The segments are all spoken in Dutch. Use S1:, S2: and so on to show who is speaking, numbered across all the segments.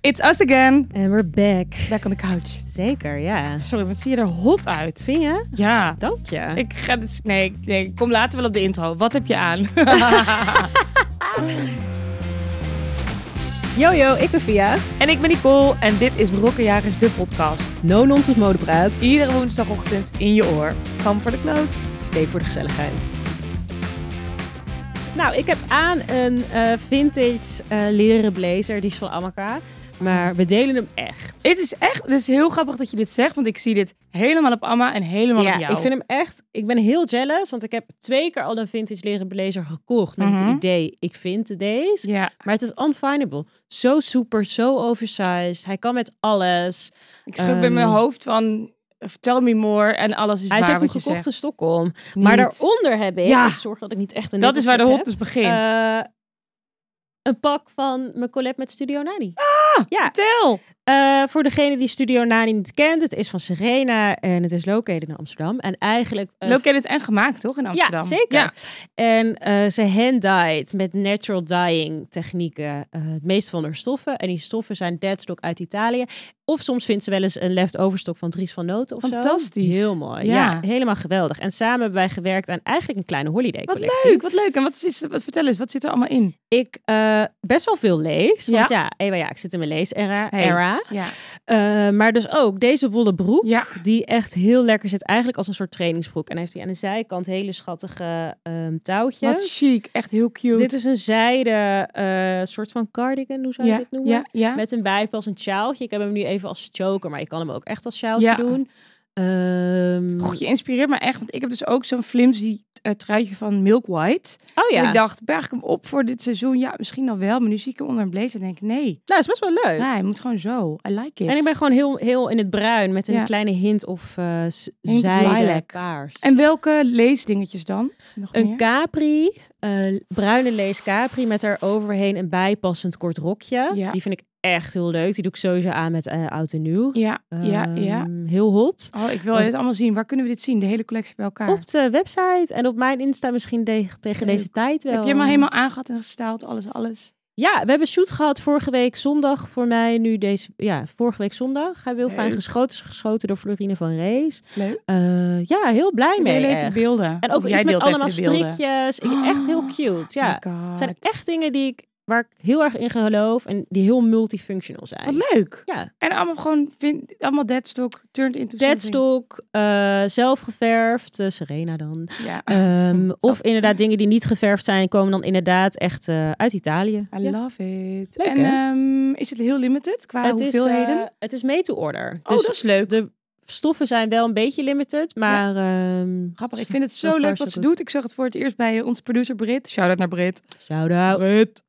S1: It's us again.
S2: En we're back.
S1: Back on the couch.
S2: Zeker, ja.
S1: Sorry, wat zie je er hot uit?
S2: Vind je?
S1: Ja.
S2: Dank je.
S1: Ik ga dit... Nee, nee, kom later wel op de intro. Wat heb je aan?
S2: Yo, yo, ik ben Via.
S1: en ik ben Nicole en dit is Rokkenjagers, de podcast.
S2: No nonsense modepraat.
S1: Iedere woensdagochtend in je oor. Kom voor de kloot.
S2: Stay voor de gezelligheid. Nou, ik heb aan een eh, vintage eh, leren blazer. Die is van Amaka. Maar we delen hem echt.
S1: Het is echt... Het is heel grappig dat je dit zegt, want ik zie dit helemaal op Amma en helemaal op jou.
S2: ik vind hem echt. Ik ben heel jealous, want ik heb twee keer al een vintage leren blazer gekocht met
S1: Mhm.
S2: het idee ik vind deze.
S1: Ja,
S2: Maar het is unfindable. Zo super, zo oversized. Hij kan met alles.
S1: ik schud bij
S2: Ehm.
S1: mijn hoofd van... Tell me more en alles is
S2: Hij
S1: waar
S2: heeft hem
S1: wat je
S2: gekocht
S1: zegt.
S2: in Stockholm. Maar
S1: Niet.
S2: daaronder heb ik,
S1: Ja.
S2: ik zorg dat ik niet echt een
S1: Dat is waar de hot
S2: nippelslip
S1: dus
S2: heb,
S1: begint.
S2: eh, een pak van mijn collab met Studio Nani.
S1: Ah,
S2: ja.
S1: Tel!
S2: Eh, voor degene die Studio Nani niet kent, het is van Serena en het is located in Amsterdam. En eigenlijk... eh,
S1: Located en gemaakt, toch? In Amsterdam.
S2: Ja, zeker. En eh, ze hand-dyed met natural dyeing technieken. eh, het meeste van haar stoffen. En die stoffen zijn deadstock uit Italië. Of soms vindt ze wel eens een leftover stok van Dries van Noten of zo.
S1: Fantastisch.
S2: Heel mooi.
S1: Ja.
S2: Ja. helemaal geweldig. En samen hebben wij gewerkt aan eigenlijk een kleine holiday
S1: Wat
S2: collectie.
S1: leuk, wat leuk. En wat, is, wat vertel eens, wat zit er allemaal in?
S2: Ik eh, best wel veel lees.
S1: Ja.
S2: Want ja, Ewa, ja ik zit in mijn lees-era.
S1: Hey.
S2: era.
S1: Ja.
S2: Eh, maar dus ook deze wollen broek,
S1: Ja.
S2: die echt heel lekker zit. Eigenlijk als een soort trainingsbroek. En hij heeft hij aan de zijkant hele schattige ehm touwtjes.
S1: Wat chic, echt heel cute.
S2: Dit is een zijde eh, soort van cardigan, hoe zou je
S1: ja,
S2: dit noemen?
S1: ja, ja.
S2: Met een bijpas, een sjaaltje. Ik heb hem nu even als choker, maar je kan hem ook echt als sjaaltje
S1: Ja.
S2: doen. Ehm,
S1: Goh, je inspireert me echt, want ik heb dus ook zo'n flimsy eh, truitje van Milk White.
S2: oh ja,
S1: En ik
S2: nou,
S1: dacht, berg ik hem op voor dit seizoen? Ja, misschien dan wel, maar nu zie ik hem onder een blazer en denk ik, nee.
S2: dat Nou, is best wel leuk.
S1: Nee, hij moet gewoon zo. I like it.
S2: En ik ben gewoon heel, heel in het bruin met een
S1: Ja.
S2: kleine hint of eh s-
S1: Hint of
S2: zijde
S1: lilac.
S2: paars.
S1: En welke leesdingetjes dan? Nog
S2: Een
S1: meer?
S2: capri, eh, bruine lees capri met er overheen een bijpassend kort rokje.
S1: Ja.
S2: Die vind ik echt heel leuk. Die doe ik sowieso aan met eh, oud en nieuw.
S1: Ja, ja, ja.
S2: Ehm, Heel hot.
S1: Oh, ik wil
S2: was-
S1: dit allemaal zien. Waar kunnen we dit zien? De hele collectie bij elkaar.
S2: Op de website en op mijn Insta misschien de- tegen
S1: Leuk.
S2: deze tijd wel.
S1: Heb je hem al helemaal aangehad en gestaald? Alles, alles.
S2: Ja, we hebben een shoot gehad vorige week zondag voor mij. Nu deze, ja, vorige week zondag. Hij wil fijn
S1: Leuk.
S2: geschoten. Is geschoten door Florine van Rees.
S1: Leuk.
S2: Eh, ja, heel blij
S1: Ik
S2: mee
S1: wil even
S2: echt.
S1: beelden.
S2: En ook
S1: Of
S2: iets met
S1: deelt even
S2: allemaal
S1: de beelden.
S2: strikjes. Ik, echt heel cute. Ja.
S1: Oh my God.
S2: Het zijn echt dingen die ik, waar ik heel erg in geloof en die heel multifunctional zijn.
S1: Wat leuk.
S2: Ja,
S1: En allemaal gewoon, vind, allemaal deadstock, turned into something.
S2: deadstock, eh zelf geverfd, eh, Serena dan.
S1: Ja.
S2: Ehm, of inderdaad dingen die niet geverfd zijn, komen dan inderdaad echt eh, uit Italië.
S1: I
S2: Ja.
S1: love it.
S2: Leuk,
S1: en
S2: hè?
S1: ehm, is het heel limited qua
S2: Het is,
S1: hoeveelheden?
S2: eh, het is made to order. Dus
S1: oh, dat is leuk.
S2: de stoffen zijn wel een beetje limited, maar ehm
S1: Grappig. Ik vind het
S2: So
S1: zo
S2: far,
S1: leuk
S2: so
S1: wat ze
S2: good.
S1: doet. Ik zag het voor het eerst bij eh, onze producer Brit. Shout-out naar Brit.
S2: shout out.
S1: Brit.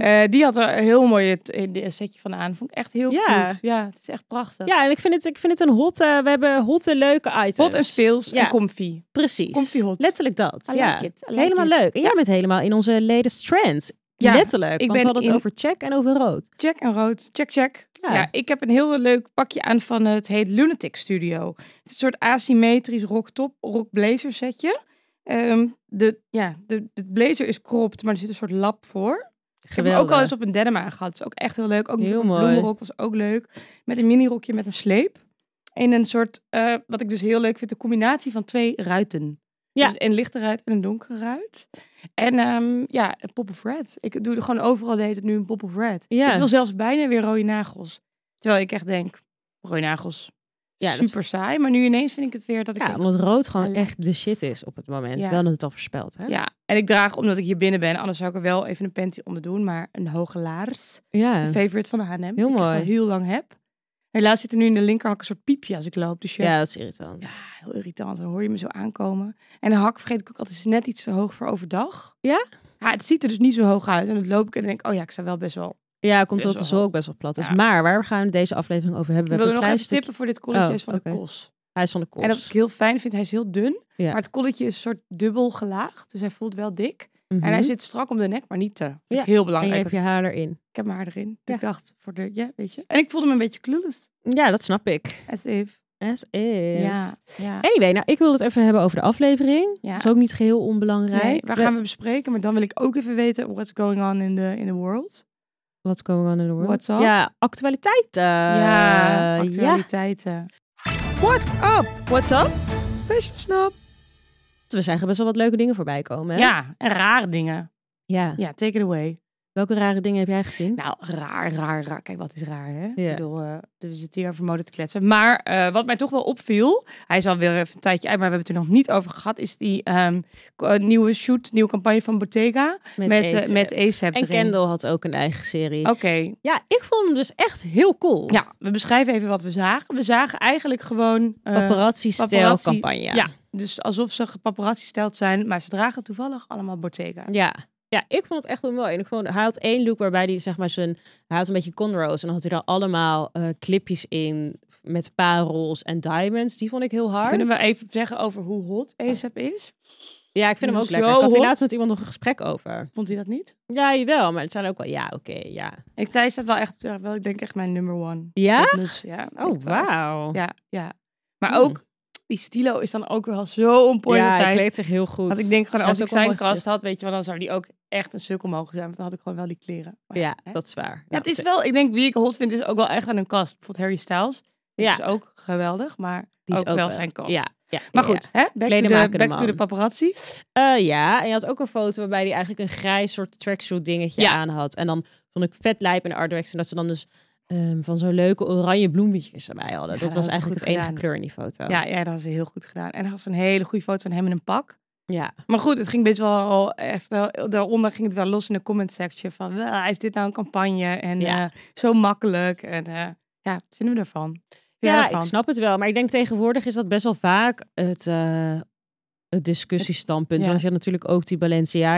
S1: Eh, die had er een heel mooi het- eh, setje van aan. Vond ik echt heel
S2: Ja.
S1: cute. Ja, het is echt prachtig.
S2: Ja, en ik vind het, ik vind het een hotte. We hebben hotte leuke items.
S1: Hot en speels
S2: Ja,
S1: en comfy.
S2: precies.
S1: comfy hot.
S2: Letterlijk dat.
S1: I
S2: ja.
S1: like it. I like
S2: helemaal
S1: it.
S2: leuk. En jij bent helemaal in onze latest trend.
S1: Ja,
S2: Letterlijk.
S1: ik
S2: want we
S1: ben
S2: hadden het
S1: in-
S2: over check en over rood.
S1: Check en rood. Check, check.
S2: Ja.
S1: Ja. ik heb een heel leuk pakje aan van eh, het heet Lunatic Studio. Het is een soort asymmetrisch rocktop, rockblazer setje. Ehm, de, ja, de, de blazer is cropped, maar er zit een soort lap voor. Ik heb hem ook al eens op een denim aangehad. Dat is ook echt heel leuk. Ook
S2: Heel
S1: een
S2: mooi.
S1: bloemenrok was ook leuk. Met een minirokje met een sleep. En een soort, eh, wat ik dus heel leuk vind, de combinatie van twee ruiten.
S2: Ja.
S1: Dus een lichte ruit en een donkere ruit. En ehm, ja, een pop of red. Ik doe er gewoon overal deed het nu een pop of red.
S2: Ja.
S1: Ik wil zelfs bijna weer rode nagels. Terwijl ik echt denk, rode nagels,
S2: Ja, dat-
S1: super saai. Maar nu ineens vind ik het weer dat ik...
S2: Ja,
S1: denk,
S2: omdat rood gewoon
S1: I
S2: echt de shit is op het moment.
S1: Ja.
S2: Terwijl het al voorspeld, hè?
S1: ja, en ik draag omdat ik hier binnen ben. Anders zou ik er wel even een panty onder doen. Maar een hoge laars.
S2: Ja.
S1: Een favorite van de H&M. die Ik
S2: mooi.
S1: echt al heel lang heb. Helaas zit er nu in de linkerhak een soort piepje als ik loop. Dus ja,
S2: Ja, dat is irritant.
S1: ja, heel irritant. Dan hoor je me zo aankomen. En de hak vergeet ik ook altijd is net iets te hoog voor overdag.
S2: Ja?
S1: Ja, het ziet er dus niet zo hoog uit. En dan loop ik en denk ik, oh ja, ik sta wel best wel.
S2: Ja, komt
S1: Best
S2: dat de
S1: wel
S2: zool ook best wel plat is.
S1: Ja.
S2: Maar waar gaan we deze aflevering over hebben?
S1: We
S2: We
S1: willen
S2: hebben
S1: nog
S2: een klein
S1: even tippen voor dit colletje
S2: Oh,
S1: is van
S2: oké.
S1: de kos.
S2: stukje- Hij is van de kost.
S1: En dat ik heel fijn vind, hij is heel dun.
S2: Ja.
S1: Maar het colletje is een soort dubbel gelaagd. Dus hij voelt wel dik.
S2: Mhm.
S1: En hij zit strak om de nek, maar niet te. Vind ik
S2: Ja.
S1: Heel
S2: En je
S1: belangrijk.
S2: hebt je haar erin.
S1: Ik heb mijn haar erin.
S2: Ja.
S1: Ik dacht, voor de, ja, weet je. En ik voelde me een beetje clueless.
S2: Ja, dat snap ik.
S1: As if.
S2: As if.
S1: Ja, ja.
S2: Anyway, nou, ik wil het even hebben over de aflevering.
S1: ja.
S2: Dat is ook niet geheel onbelangrijk.
S1: Nee, waar gaan we bespreken? Maar dan wil ik ook even weten what's going on in the, in the world.
S2: What's going on in the world?
S1: What's up?
S2: Ja, actualiteiten.
S1: ja,
S2: Eh, ja.
S1: actualiteiten.
S2: What's up? What's up?
S1: Fashion snap.
S2: We zagen best wel wat leuke dingen voorbij komen. Hè?
S1: Ja, en rare dingen.
S2: ja.
S1: Ja, take it away.
S2: Welke rare dingen heb jij gezien?
S1: Nou, raar, raar, raar. Kijk, wat is raar, hè?
S2: Ja.
S1: Ik bedoel, eh, we zitten hier over mode te kletsen. Maar eh, wat mij toch wel opviel, hij is alweer even een tijdje uit, maar we hebben het er nog niet over gehad, is die ehm, ko- eh, nieuwe shoot, nieuwe campagne van Bottega met, eh,
S2: Ace.
S1: met Ace
S2: En Kendall had ook een eigen serie.
S1: Oké,
S2: Ja, ik vond hem dus echt heel cool.
S1: ja, we beschrijven even wat we zagen. We zagen eigenlijk gewoon... eh,
S2: Paparazzi-stijl
S1: paparazzi-
S2: campagne.
S1: ja, dus alsof ze paparazzi stelt zijn, maar ze dragen toevallig allemaal Bottega.
S2: Ja. Ja, ik vond het echt wel mooi. En ik vond, hij had één look waarbij hij zeg maar zijn... Hij had een beetje cornrows en dan had hij daar allemaal eh, clipjes in met parels en diamonds. Die vond ik heel hard.
S1: Kunnen we even zeggen over hoe hot ASAP is?
S2: Ja, ik vind hem ook
S1: Zo
S2: lekker. Ik had
S1: hot.
S2: hier laatst met iemand nog een gesprek over.
S1: Vond hij dat niet?
S2: Ja, jawel. Maar het zijn ook wel... Ja, oké, ja.
S1: Ik, hij staat wel echt, ja, wel, ik denk echt mijn number one.
S2: Ja?
S1: fitness, ja.
S2: Oh,
S1: Ik wel echt.
S2: wauw.
S1: Ja, ja. Maar
S2: Hmm.
S1: ook, die stilo is dan ook wel zo on point.
S2: Ja,
S1: altijd.
S2: hij kleedt zich heel goed.
S1: Want ik denk gewoon,
S2: Hij
S1: als
S2: heeft
S1: ik
S2: ook een
S1: zijn
S2: mooi
S1: kast
S2: gezicht.
S1: had, weet je wel, dan zou die ook echt een sukkel mogen zijn. Want dan had ik gewoon wel die kleren. Maar
S2: Ja,
S1: hè.
S2: dat is waar.
S1: oh Ja,
S2: Nou,
S1: het is
S2: ze-
S1: wel, ik denk wie ik hot vind, is ook wel echt aan een kast. Bijvoorbeeld Harry Styles. Die
S2: Ja.
S1: is ook geweldig, maar
S2: Die is
S1: ook, wel zijn kast.
S2: Ja, ja.
S1: Maar
S2: ja.
S1: goed, hè? back, to
S2: Kleden
S1: the,
S2: maken de
S1: back to
S2: man.
S1: the paparazzi.
S2: Eh, ja, en je had ook een foto waarbij hij eigenlijk een grijs soort tracksuit dingetje
S1: Ja.
S2: aan had. En dan vond ik vet lijp in de artworks. En dat ze dan dus ehm, van zo'n leuke oranje bloemetjes erbij hadden.
S1: Ja,
S2: dat,
S1: dat
S2: was
S1: was
S2: eigenlijk
S1: goed
S2: het enige
S1: gedaan.
S2: kleur in die foto.
S1: Ja, ja, dat had ze heel goed gedaan. En hij had een hele goede foto van hem in een pak.
S2: ja.
S1: Maar goed, het ging best wel al echt. wel- Daaronder ging het wel los in de comment section. Van "Wel, is dit nou een campagne? En
S2: Ja.
S1: eh, zo makkelijk. En eh, ja, wat vinden we ervan? Vind je
S2: Ja,
S1: ervan?
S2: ik snap het wel. Maar ik denk tegenwoordig is dat best wel vaak het, eh, het discussiestandpunt.
S1: ja.
S2: Want je had natuurlijk ook die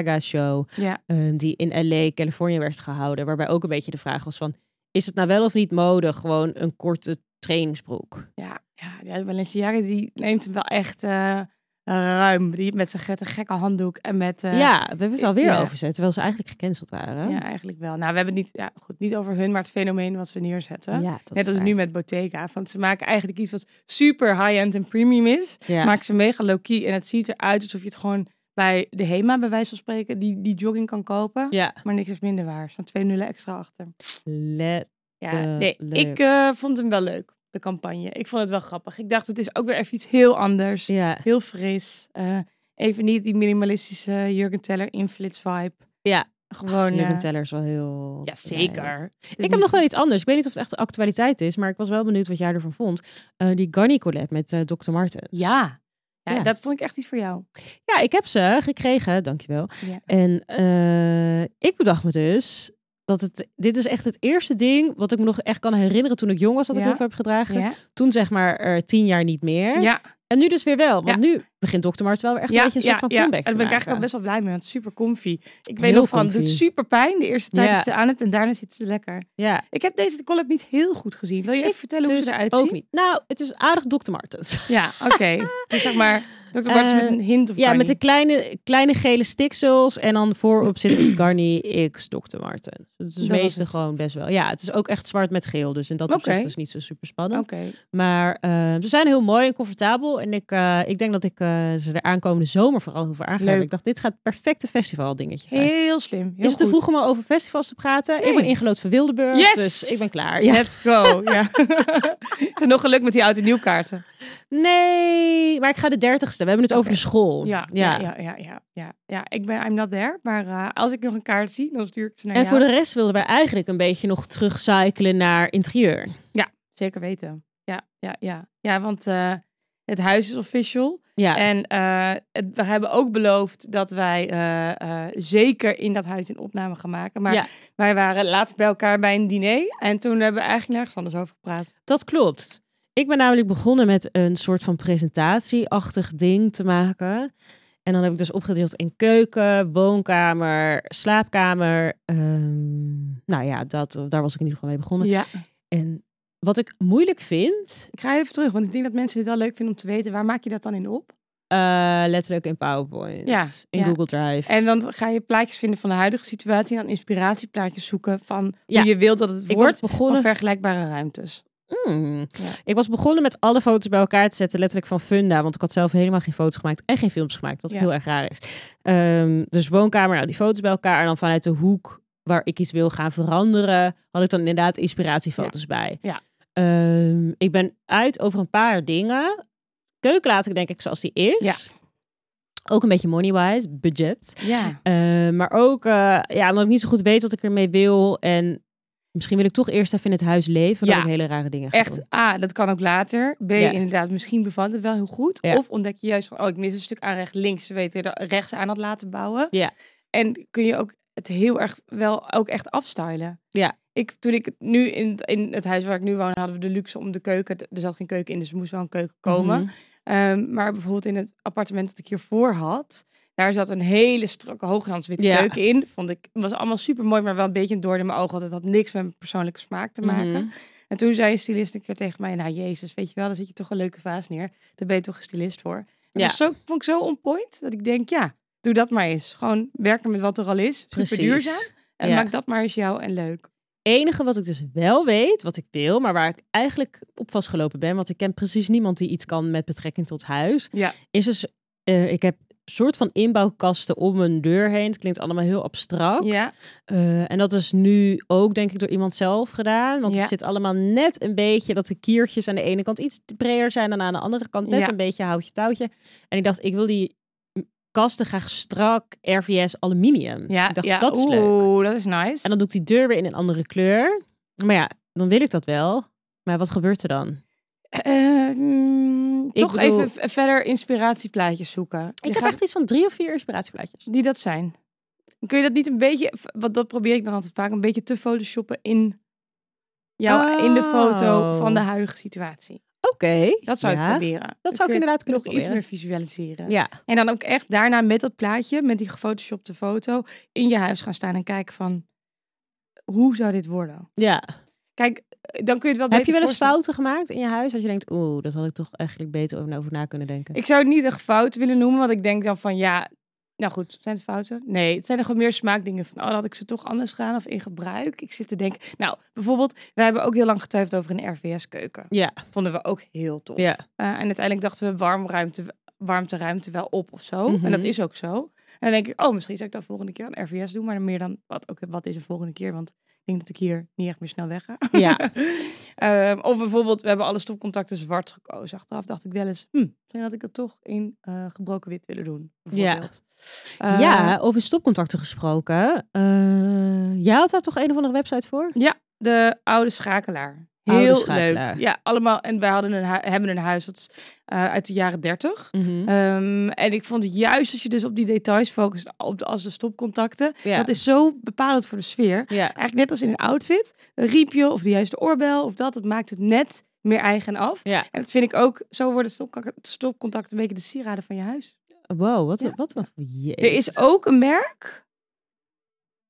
S2: Balenciaga-show
S1: Ja,
S2: eh, die in L.A., Californië werd gehouden. Waarbij ook een beetje de vraag was van, is het nou wel of niet mode gewoon een korte trainingsbroek?
S1: ja, ja, ja. Balenciaga die neemt hem wel echt eh, ruim. Die met zijn gette gekke handdoek en met. eh,
S2: ja, we hebben het alweer
S1: ja.
S2: overzet, terwijl ze eigenlijk gecanceld waren.
S1: ja, eigenlijk wel. Nou, we hebben het niet, ja, goed, niet over hun, maar het fenomeen wat ze neerzetten.
S2: Ja, dat
S1: Net
S2: is
S1: als
S2: waar.
S1: nu met Bottega. Want ze maken eigenlijk iets wat super high-end en premium is.
S2: Ja.
S1: Maak ze mega low-key. En het ziet eruit alsof je het gewoon bij de HEMA, bij wijze van spreken, die, die jogging kan kopen.
S2: Ja,
S1: Maar niks is minder waar. Zo'n twee nullen extra achter.
S2: let.
S1: Ja,
S2: Te
S1: nee,
S2: leuk.
S1: ik eh, vond hem wel leuk, de campagne. Ik vond het wel grappig. Ik dacht, het is ook weer even iets heel anders.
S2: Ja,
S1: Heel fris. Eh, even niet die minimalistische Jurgen Teller inflits vibe.
S2: Ja.
S1: Gewoon...
S2: Jurgen
S1: eh,
S2: Teller is wel heel...
S1: ja, zeker.
S2: Ik heb nog wel iets anders. Ik weet niet of het echt de actualiteit is, maar ik was wel benieuwd wat jij ervan vond. Eh, die Garni collab met eh, Dr. Martens.
S1: Ja. Ja,
S2: Ja.
S1: dat vond ik echt iets voor jou.
S2: Ja, ik heb ze gekregen, dankjewel.
S1: Ja.
S2: En eh, ik bedacht me dus dat het... Dit is echt het eerste ding wat ik me nog echt kan herinneren toen ik jong was dat ik
S1: Ja.
S2: heel veel heb gedragen.
S1: Ja.
S2: Toen zeg maar eh, tien jaar niet meer.
S1: ja.
S2: En nu dus weer wel, want
S1: Ja.
S2: nu begint Dr. Martens wel weer echt een beetje een soort van comeback
S1: En
S2: te
S1: daar ben ik eigenlijk al
S2: maken.
S1: best wel blij mee, want het is super comfy. Ik weet
S2: Heel
S1: nog van, het
S2: comfy.
S1: doet super pijn de eerste tijd
S2: Ja.
S1: dat je ze aan hebt en daarna zit ze lekker.
S2: Ja.
S1: Ik heb deze collab niet heel goed gezien. Wil je even vertellen hoe
S2: Dus
S1: ze eruit
S2: ook
S1: zien?
S2: niet. Nou, het is aardig Dr. Martens.
S1: Ja, oké. dus zeg maar, Dr. Martens
S2: Eh,
S1: met een hint of
S2: Ja, met de
S1: de
S2: kleine, kleine gele stiksels en dan voorop zit Garni X Dr. Martens. Dus het is
S1: Dat was
S2: meeste
S1: het.
S2: gewoon best wel. Ja, het is ook echt zwart met geel, dus in dat
S1: Oké.
S2: opzicht is niet zo super
S1: Oké,
S2: spannend. Maar eh, ze zijn heel mooi en comfortabel en ik, eh, ik denk dat ik eh, ze de aankomende zomer vooral heel veel aan ga
S1: Leuk.
S2: hebben. Ik dacht, dit gaat het perfecte festival dingetje zijn.
S1: heel slim. Heel
S2: is het te
S1: goed.
S2: vroeg om al over festivals te praten?
S1: Nee.
S2: Ik ben ingelood voor Wildeburg,
S1: Yes!
S2: dus ik ben klaar. Ja.
S1: Let's go. Ja. Is er nog geluk met die oud en nieuwkaarten?
S2: Nee, maar ik ga de dertigste. We hebben het over
S1: Oké.
S2: de school.
S1: Ja, ja, ja, ja, ja, ja. Ja, ik ben I'm not there, maar eh, als ik nog een kaart zie, dan stuur ik het naar
S2: En
S1: jou.
S2: voor de rest wilden wij eigenlijk een beetje nog terugcyclen naar interieur.
S1: Zeker weten. Ja, ja, ja. Ja, want eh, het huis is official.
S2: Ja,
S1: En eh, het- we hebben ook beloofd dat wij eh, eh, zeker in dat huis een opname gaan maken. Maar
S2: Ja.
S1: wij waren laatst bij elkaar bij een diner. En toen hebben we eigenlijk nergens anders over gepraat.
S2: dat klopt. Ik ben namelijk begonnen met een soort van presentatieachtig ding te maken. En dan heb ik dus opgedeeld in keuken, woonkamer, slaapkamer. Ehm, nou ja, dat, daar was ik in ieder geval mee begonnen.
S1: Ja.
S2: En wat ik moeilijk vind,
S1: Ik ga even terug, want ik denk dat mensen het wel leuk vinden om te weten. Waar maak je dat dan in op?
S2: eh, letterlijk in PowerPoint,
S1: Ja,
S2: in
S1: ja.
S2: Google Drive.
S1: En dan ga je plaatjes vinden van de huidige situatie. En dan inspiratieplaatjes zoeken van
S2: Ja.
S1: hoe je wilt dat het
S2: ik was
S1: wordt. Van
S2: begonnen
S1: vergelijkbare ruimtes.
S2: Hmm.
S1: Ja.
S2: Ik was begonnen met alle foto's bij elkaar te zetten, letterlijk van Funda. Want ik had zelf helemaal geen foto's gemaakt en geen films gemaakt, wat
S1: Ja.
S2: heel erg raar is. Ehm, dus woonkamer, nou die foto's bij elkaar. En dan vanuit de hoek waar ik iets wil gaan veranderen, had ik dan inderdaad inspiratiefoto's bij.
S1: Ja.
S2: Ehm, ik ben uit over een paar dingen. Keuken laat ik denk ik zoals die is. Ook een beetje money-wise, budget.
S1: Ja.
S2: Eh, maar ook eh, ja, omdat ik niet zo goed weet wat ik ermee wil. En misschien wil ik toch eerst even in het huis leven. Ja.
S1: Ja.
S2: ik hele rare dingen ga
S1: Echt,
S2: doen.
S1: A, dat kan ook later. B,
S2: Ja.
S1: inderdaad, misschien bevalt het wel heel goed.
S2: Ja.
S1: Of ontdek je juist van, oh, ik mis een stuk aan recht links. Ze weten dat rechts aan had laten bouwen.
S2: Ja.
S1: En kun je ook het heel erg wel ook echt afstylen.
S2: Ja.
S1: Ik, toen ik het nu in, het- in het huis waar ik nu woon, hadden we de luxe om de keuken. te- Er zat geen keuken in, dus er moest wel een keuken komen.
S2: Mhm.
S1: Ehm, maar bijvoorbeeld in het appartement dat ik hiervoor had, daar zat een hele strakke hooglandswitte
S2: Ja.
S1: keuken in. Vond ik, was allemaal super mooi, maar wel een beetje een doorn in mijn ogen. Want het had niks met mijn persoonlijke smaak te maken.
S2: Mhm.
S1: En toen zei een stylist een keer tegen mij, nou jezus, weet je wel, dan zit je toch een leuke vaas neer. Daar ben je toch een stylist voor. En
S2: Ja.
S1: dat zo, vond ik zo on point, dat ik denk, ja, doe dat maar eens. Gewoon werken met wat er al is, super
S2: Precies.
S1: duurzaam. En
S2: Ja.
S1: maak dat maar eens jou en leuk.
S2: enige wat ik dus wel weet, wat ik wil, maar waar ik eigenlijk op vastgelopen ben, want ik ken precies niemand die iets kan met betrekking tot huis,
S1: Ja.
S2: is dus, eh, ik heb soort van inbouwkasten om een deur heen. Het klinkt allemaal heel abstract.
S1: Ja,
S2: Eh, en dat is nu ook, denk ik, door iemand zelf gedaan. Want
S1: Ja.
S2: het zit allemaal net een beetje dat de kiertjes aan de ene kant iets breder zijn dan aan de andere kant. Net
S1: Ja.
S2: een beetje houtje touwtje. En ik dacht, ik wil die kasten graag strak RVS aluminium.
S1: ja,
S2: ik dacht,
S1: ja.
S2: dat is leuk.
S1: Oeh, dat is nice.
S2: En dan doe ik die deur weer in een andere kleur. Maar ja, dan wil ik dat wel. Maar wat gebeurt er dan?
S1: Eh, mm,
S2: Ik
S1: toch
S2: bedoel-
S1: even v- verder inspiratieplaatjes zoeken.
S2: Ik
S1: Je
S2: heb
S1: gaat-
S2: echt iets van drie of vier inspiratieplaatjes.
S1: Die dat zijn. Kun je dat niet een beetje, v- want dat probeer ik dan altijd vaak, een beetje te photoshoppen in, jou, in de foto
S2: Oh.
S1: van de huidige situatie.
S2: Oké.
S1: Dat zou
S2: Ja.
S1: ik proberen. Dan
S2: zou ik
S1: kun je het
S2: inderdaad kunnen
S1: nog iets
S2: proberen.
S1: meer visualiseren.
S2: Ja,
S1: En dan ook echt daarna met dat plaatje, met die gefotoshopte foto, in je huis gaan staan en kijken van, hoe zou dit worden?
S2: ja.
S1: Kijk, eh, dan kun je het wel beter
S2: Heb je wel eens
S1: voorstellen.
S2: fouten gemaakt in je huis? Dat je denkt, oeh, dat had ik toch eigenlijk beter over, over na kunnen denken.
S1: Ik zou het niet echt fout willen noemen, want ik denk dan van ja, nou goed, zijn het fouten? Nee, het zijn nog wel meer smaakdingen van, oh, had ik ze toch anders gedaan of in gebruik? Ik zit te denken, nou, bijvoorbeeld, wij hebben ook heel lang getuigd over een RVS-keuken.
S2: Ja.
S1: Vonden we ook heel tof.
S2: Ja.
S1: Eh, en uiteindelijk dachten we warmruimte, warmteruimte wel op of zo.
S2: Mhm.
S1: En dat is ook zo. En dan denk ik, oh, misschien zou ik dat volgende keer een RVS doen, maar dan meer dan, wat, ook wat is de volgende keer? Want ik denk dat ik hier niet echt meer snel weg ga.
S2: Ja.
S1: Ehm, of bijvoorbeeld, we hebben alle stopcontacten zwart gekozen. Achteraf dacht ik wel eens, hm, misschien had ik het toch in eh, gebroken wit willen doen. Bijvoorbeeld. Eh,
S2: ja, over stopcontacten gesproken. Eh jij had daar toch een of andere website voor?
S1: De oude schakelaar. Heel
S2: Oude schakelaar.
S1: leuk. Ja, allemaal. En wij hadden een hu- hebben een huis dat is, eh, uit de jaren 30.
S2: Mhm.
S1: Ehm, en ik vond het juist als je dus op die details focust, op de, als de stopcontacten,
S2: Ja.
S1: dat is zo bepalend voor de sfeer.
S2: ja.
S1: Eigenlijk net als in een outfit, een riempje of de juiste oorbel of dat, het maakt het net meer eigen af.
S2: Ja.
S1: En dat vind ik ook, zo worden stopka- stopcontacten een beetje de sieraden van je huis.
S2: Wow, wat,
S1: Ja.
S2: wat een...
S1: Er is ook een merk.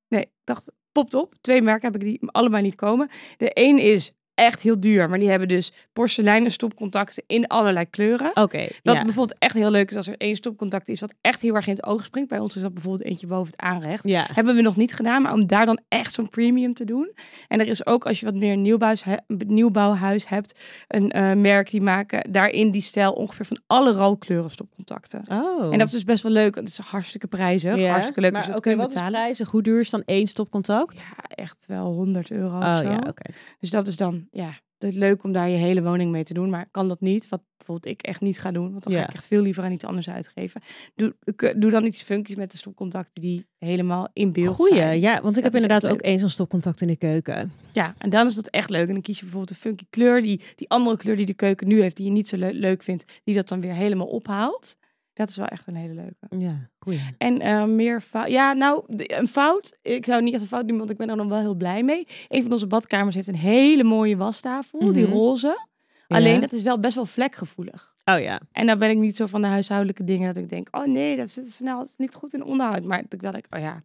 S1: Nee, ik dacht, popt op. Twee merken heb ik die allebei niet komen. De een is echt heel duur, maar die hebben dus porseleinen stopcontacten in allerlei kleuren.
S2: Oké,
S1: Wat
S2: ja.
S1: bijvoorbeeld echt heel leuk is als er één stopcontact is wat echt heel erg in het oog springt. Bij ons is dat bijvoorbeeld eentje boven het aanrecht.
S2: ja.
S1: Hebben we nog niet gedaan, maar om daar dan echt zo'n premium te doen. En er is ook, als je wat meer een nieuwbouwhuis, he- een nieuwbouwhuis hebt, een eh, merk die maken daarin die stijl ongeveer van alle roodkleuren stopcontacten.
S2: Oh.
S1: En dat is dus best wel leuk. want Het is hartstikke prijzig.
S2: Ja,
S1: Hartstikke leuk.
S2: Maar
S1: dus dat
S2: oké,
S1: kun je
S2: wat is
S1: betalen.
S2: prijzig? Hoe duur is dan één stopcontact?
S1: Ja, echt wel 100 euro of
S2: oh
S1: zo.
S2: ja, oké.
S1: Dus dat is dan, ja, dat is leuk om daar je hele woning mee te doen. Maar kan dat niet, wat bijvoorbeeld ik echt niet ga doen. Want dan
S2: Ja.
S1: ga ik echt veel liever aan iets anders uitgeven. Doe, k- doe dan iets funkies met de stopcontacten die helemaal in beeld
S2: Goeie,
S1: zijn.
S2: ja, want ik
S1: Dat
S2: heb
S1: is
S2: inderdaad
S1: echt
S2: ook eens zo'n stopcontact in de keuken.
S1: Ja, en dan is dat echt leuk. En dan kies je bijvoorbeeld een funky kleur. Die, die andere kleur die de keuken nu heeft, die je niet zo le- leuk vindt. Die dat dan weer helemaal ophaalt. Dat is wel echt een hele leuke.
S2: Ja, goeie.
S1: En eh, meer fout. Ja, nou, de- een fout. Ik zou het niet echt een fout noemen, want ik ben er dan wel heel blij mee. Een van onze badkamers heeft een hele mooie wastafel, die
S2: Mhm.
S1: roze. Alleen dat is wel best wel vlekgevoelig.
S2: Oh ja.
S1: En daar ben ik niet zo van de huishoudelijke dingen dat ik denk, oh nee, dat zit snel, dat is niet goed in onderhoud. Maar dat ik wel denk, oh ja,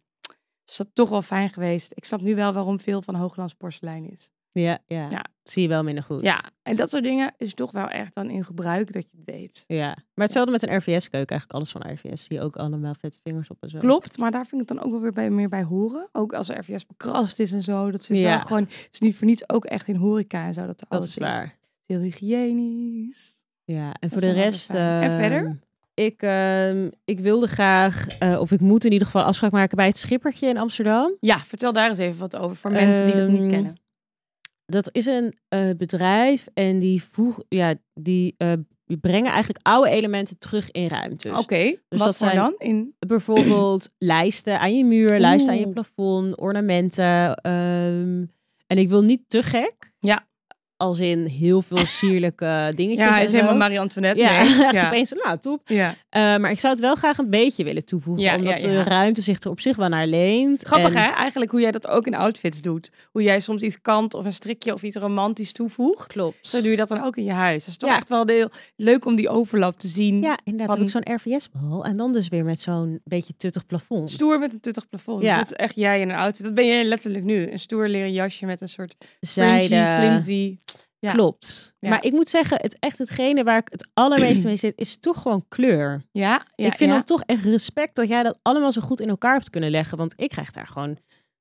S1: is dat toch wel fijn geweest. Ik snap nu wel waarom veel van Hooglands porselein is.
S2: Ja, ja.
S1: Ja.
S2: Zie je wel minder goed.
S1: Ja, en dat soort dingen is toch wel echt dan in gebruik dat je het weet.
S2: ja. Maar hetzelfde met een RVS-keuken. Eigenlijk alles van RVS. Zie je ook allemaal vette vingers op en zo.
S1: Klopt, maar daar vind ik het dan ook wel weer bij, meer bij horen. Ook als RVS bekrast is en zo. Dat zit
S2: Ja.
S1: wel gewoon, het is niet voor niets ook echt in horeca en zo. Dat, er
S2: Dat
S1: alles
S2: is waar.
S1: Heel hygiënisch.
S2: Ja, en voor
S1: is
S2: de
S1: wel
S2: rest...
S1: fijn. En verder?
S2: ehm, Ik, ehm, ik wilde graag, eh, of ik moet in ieder geval afspraak maken bij het Schippertje in Amsterdam.
S1: Ja, vertel daar eens even wat over voor mensen die dat
S2: Ehm,
S1: niet kennen.
S2: Dat is een eh, bedrijf en die, voeg, ja, die eh, die brengen eigenlijk oude elementen terug in ruimtes.
S1: Oké, wat
S2: dat
S1: voor
S2: zijn-
S1: dan? In...
S2: Bijvoorbeeld lijsten aan je muur, lijsten aan je
S1: Oeh.
S2: plafond, ornamenten. ehm, en ik wil niet te gek.
S1: Ja.
S2: Als in heel veel sierlijke dingetjes.
S1: Ja, hij
S2: en
S1: is
S2: zo.
S1: helemaal Marie-Antoinette.
S2: Ja,
S1: nee.
S2: echt
S1: ja.
S2: opeens, nou top.
S1: Ja.
S2: Eh, maar ik zou het wel graag een beetje willen toevoegen.
S1: Ja,
S2: omdat
S1: ja,
S2: de
S1: ja.
S2: ruimte zich er op zich wel naar leent.
S1: Grappig
S2: En-
S1: hè, eigenlijk hoe jij dat ook in outfits doet. Hoe jij soms iets kant of een strikje of iets romantisch toevoegt.
S2: Klopt.
S1: Zo doe je dat dan ook in je huis. Dat is toch
S2: Ja.
S1: echt wel heel leuk om die overlap te zien.
S2: Ja, inderdaad.
S1: Van-
S2: Ook zo'n RVS-bal. En dan dus weer met zo'n beetje tuttig plafond.
S1: Stoer met een tuttig plafond.
S2: Ja.
S1: Dat is echt jij in een outfit. Dat ben jij letterlijk nu. Een stoer leren jasje met een soort fringy,
S2: Zijde.
S1: flimsy. ja.
S2: Klopt.
S1: Ja.
S2: Maar ik moet zeggen, het, echt hetgene waar ik het allermeest mee zit, is toch gewoon kleur.
S1: Ja, ja
S2: ik vind
S1: ja.
S2: dan toch echt respect dat jij dat allemaal zo goed in elkaar hebt kunnen leggen. Want ik krijg daar gewoon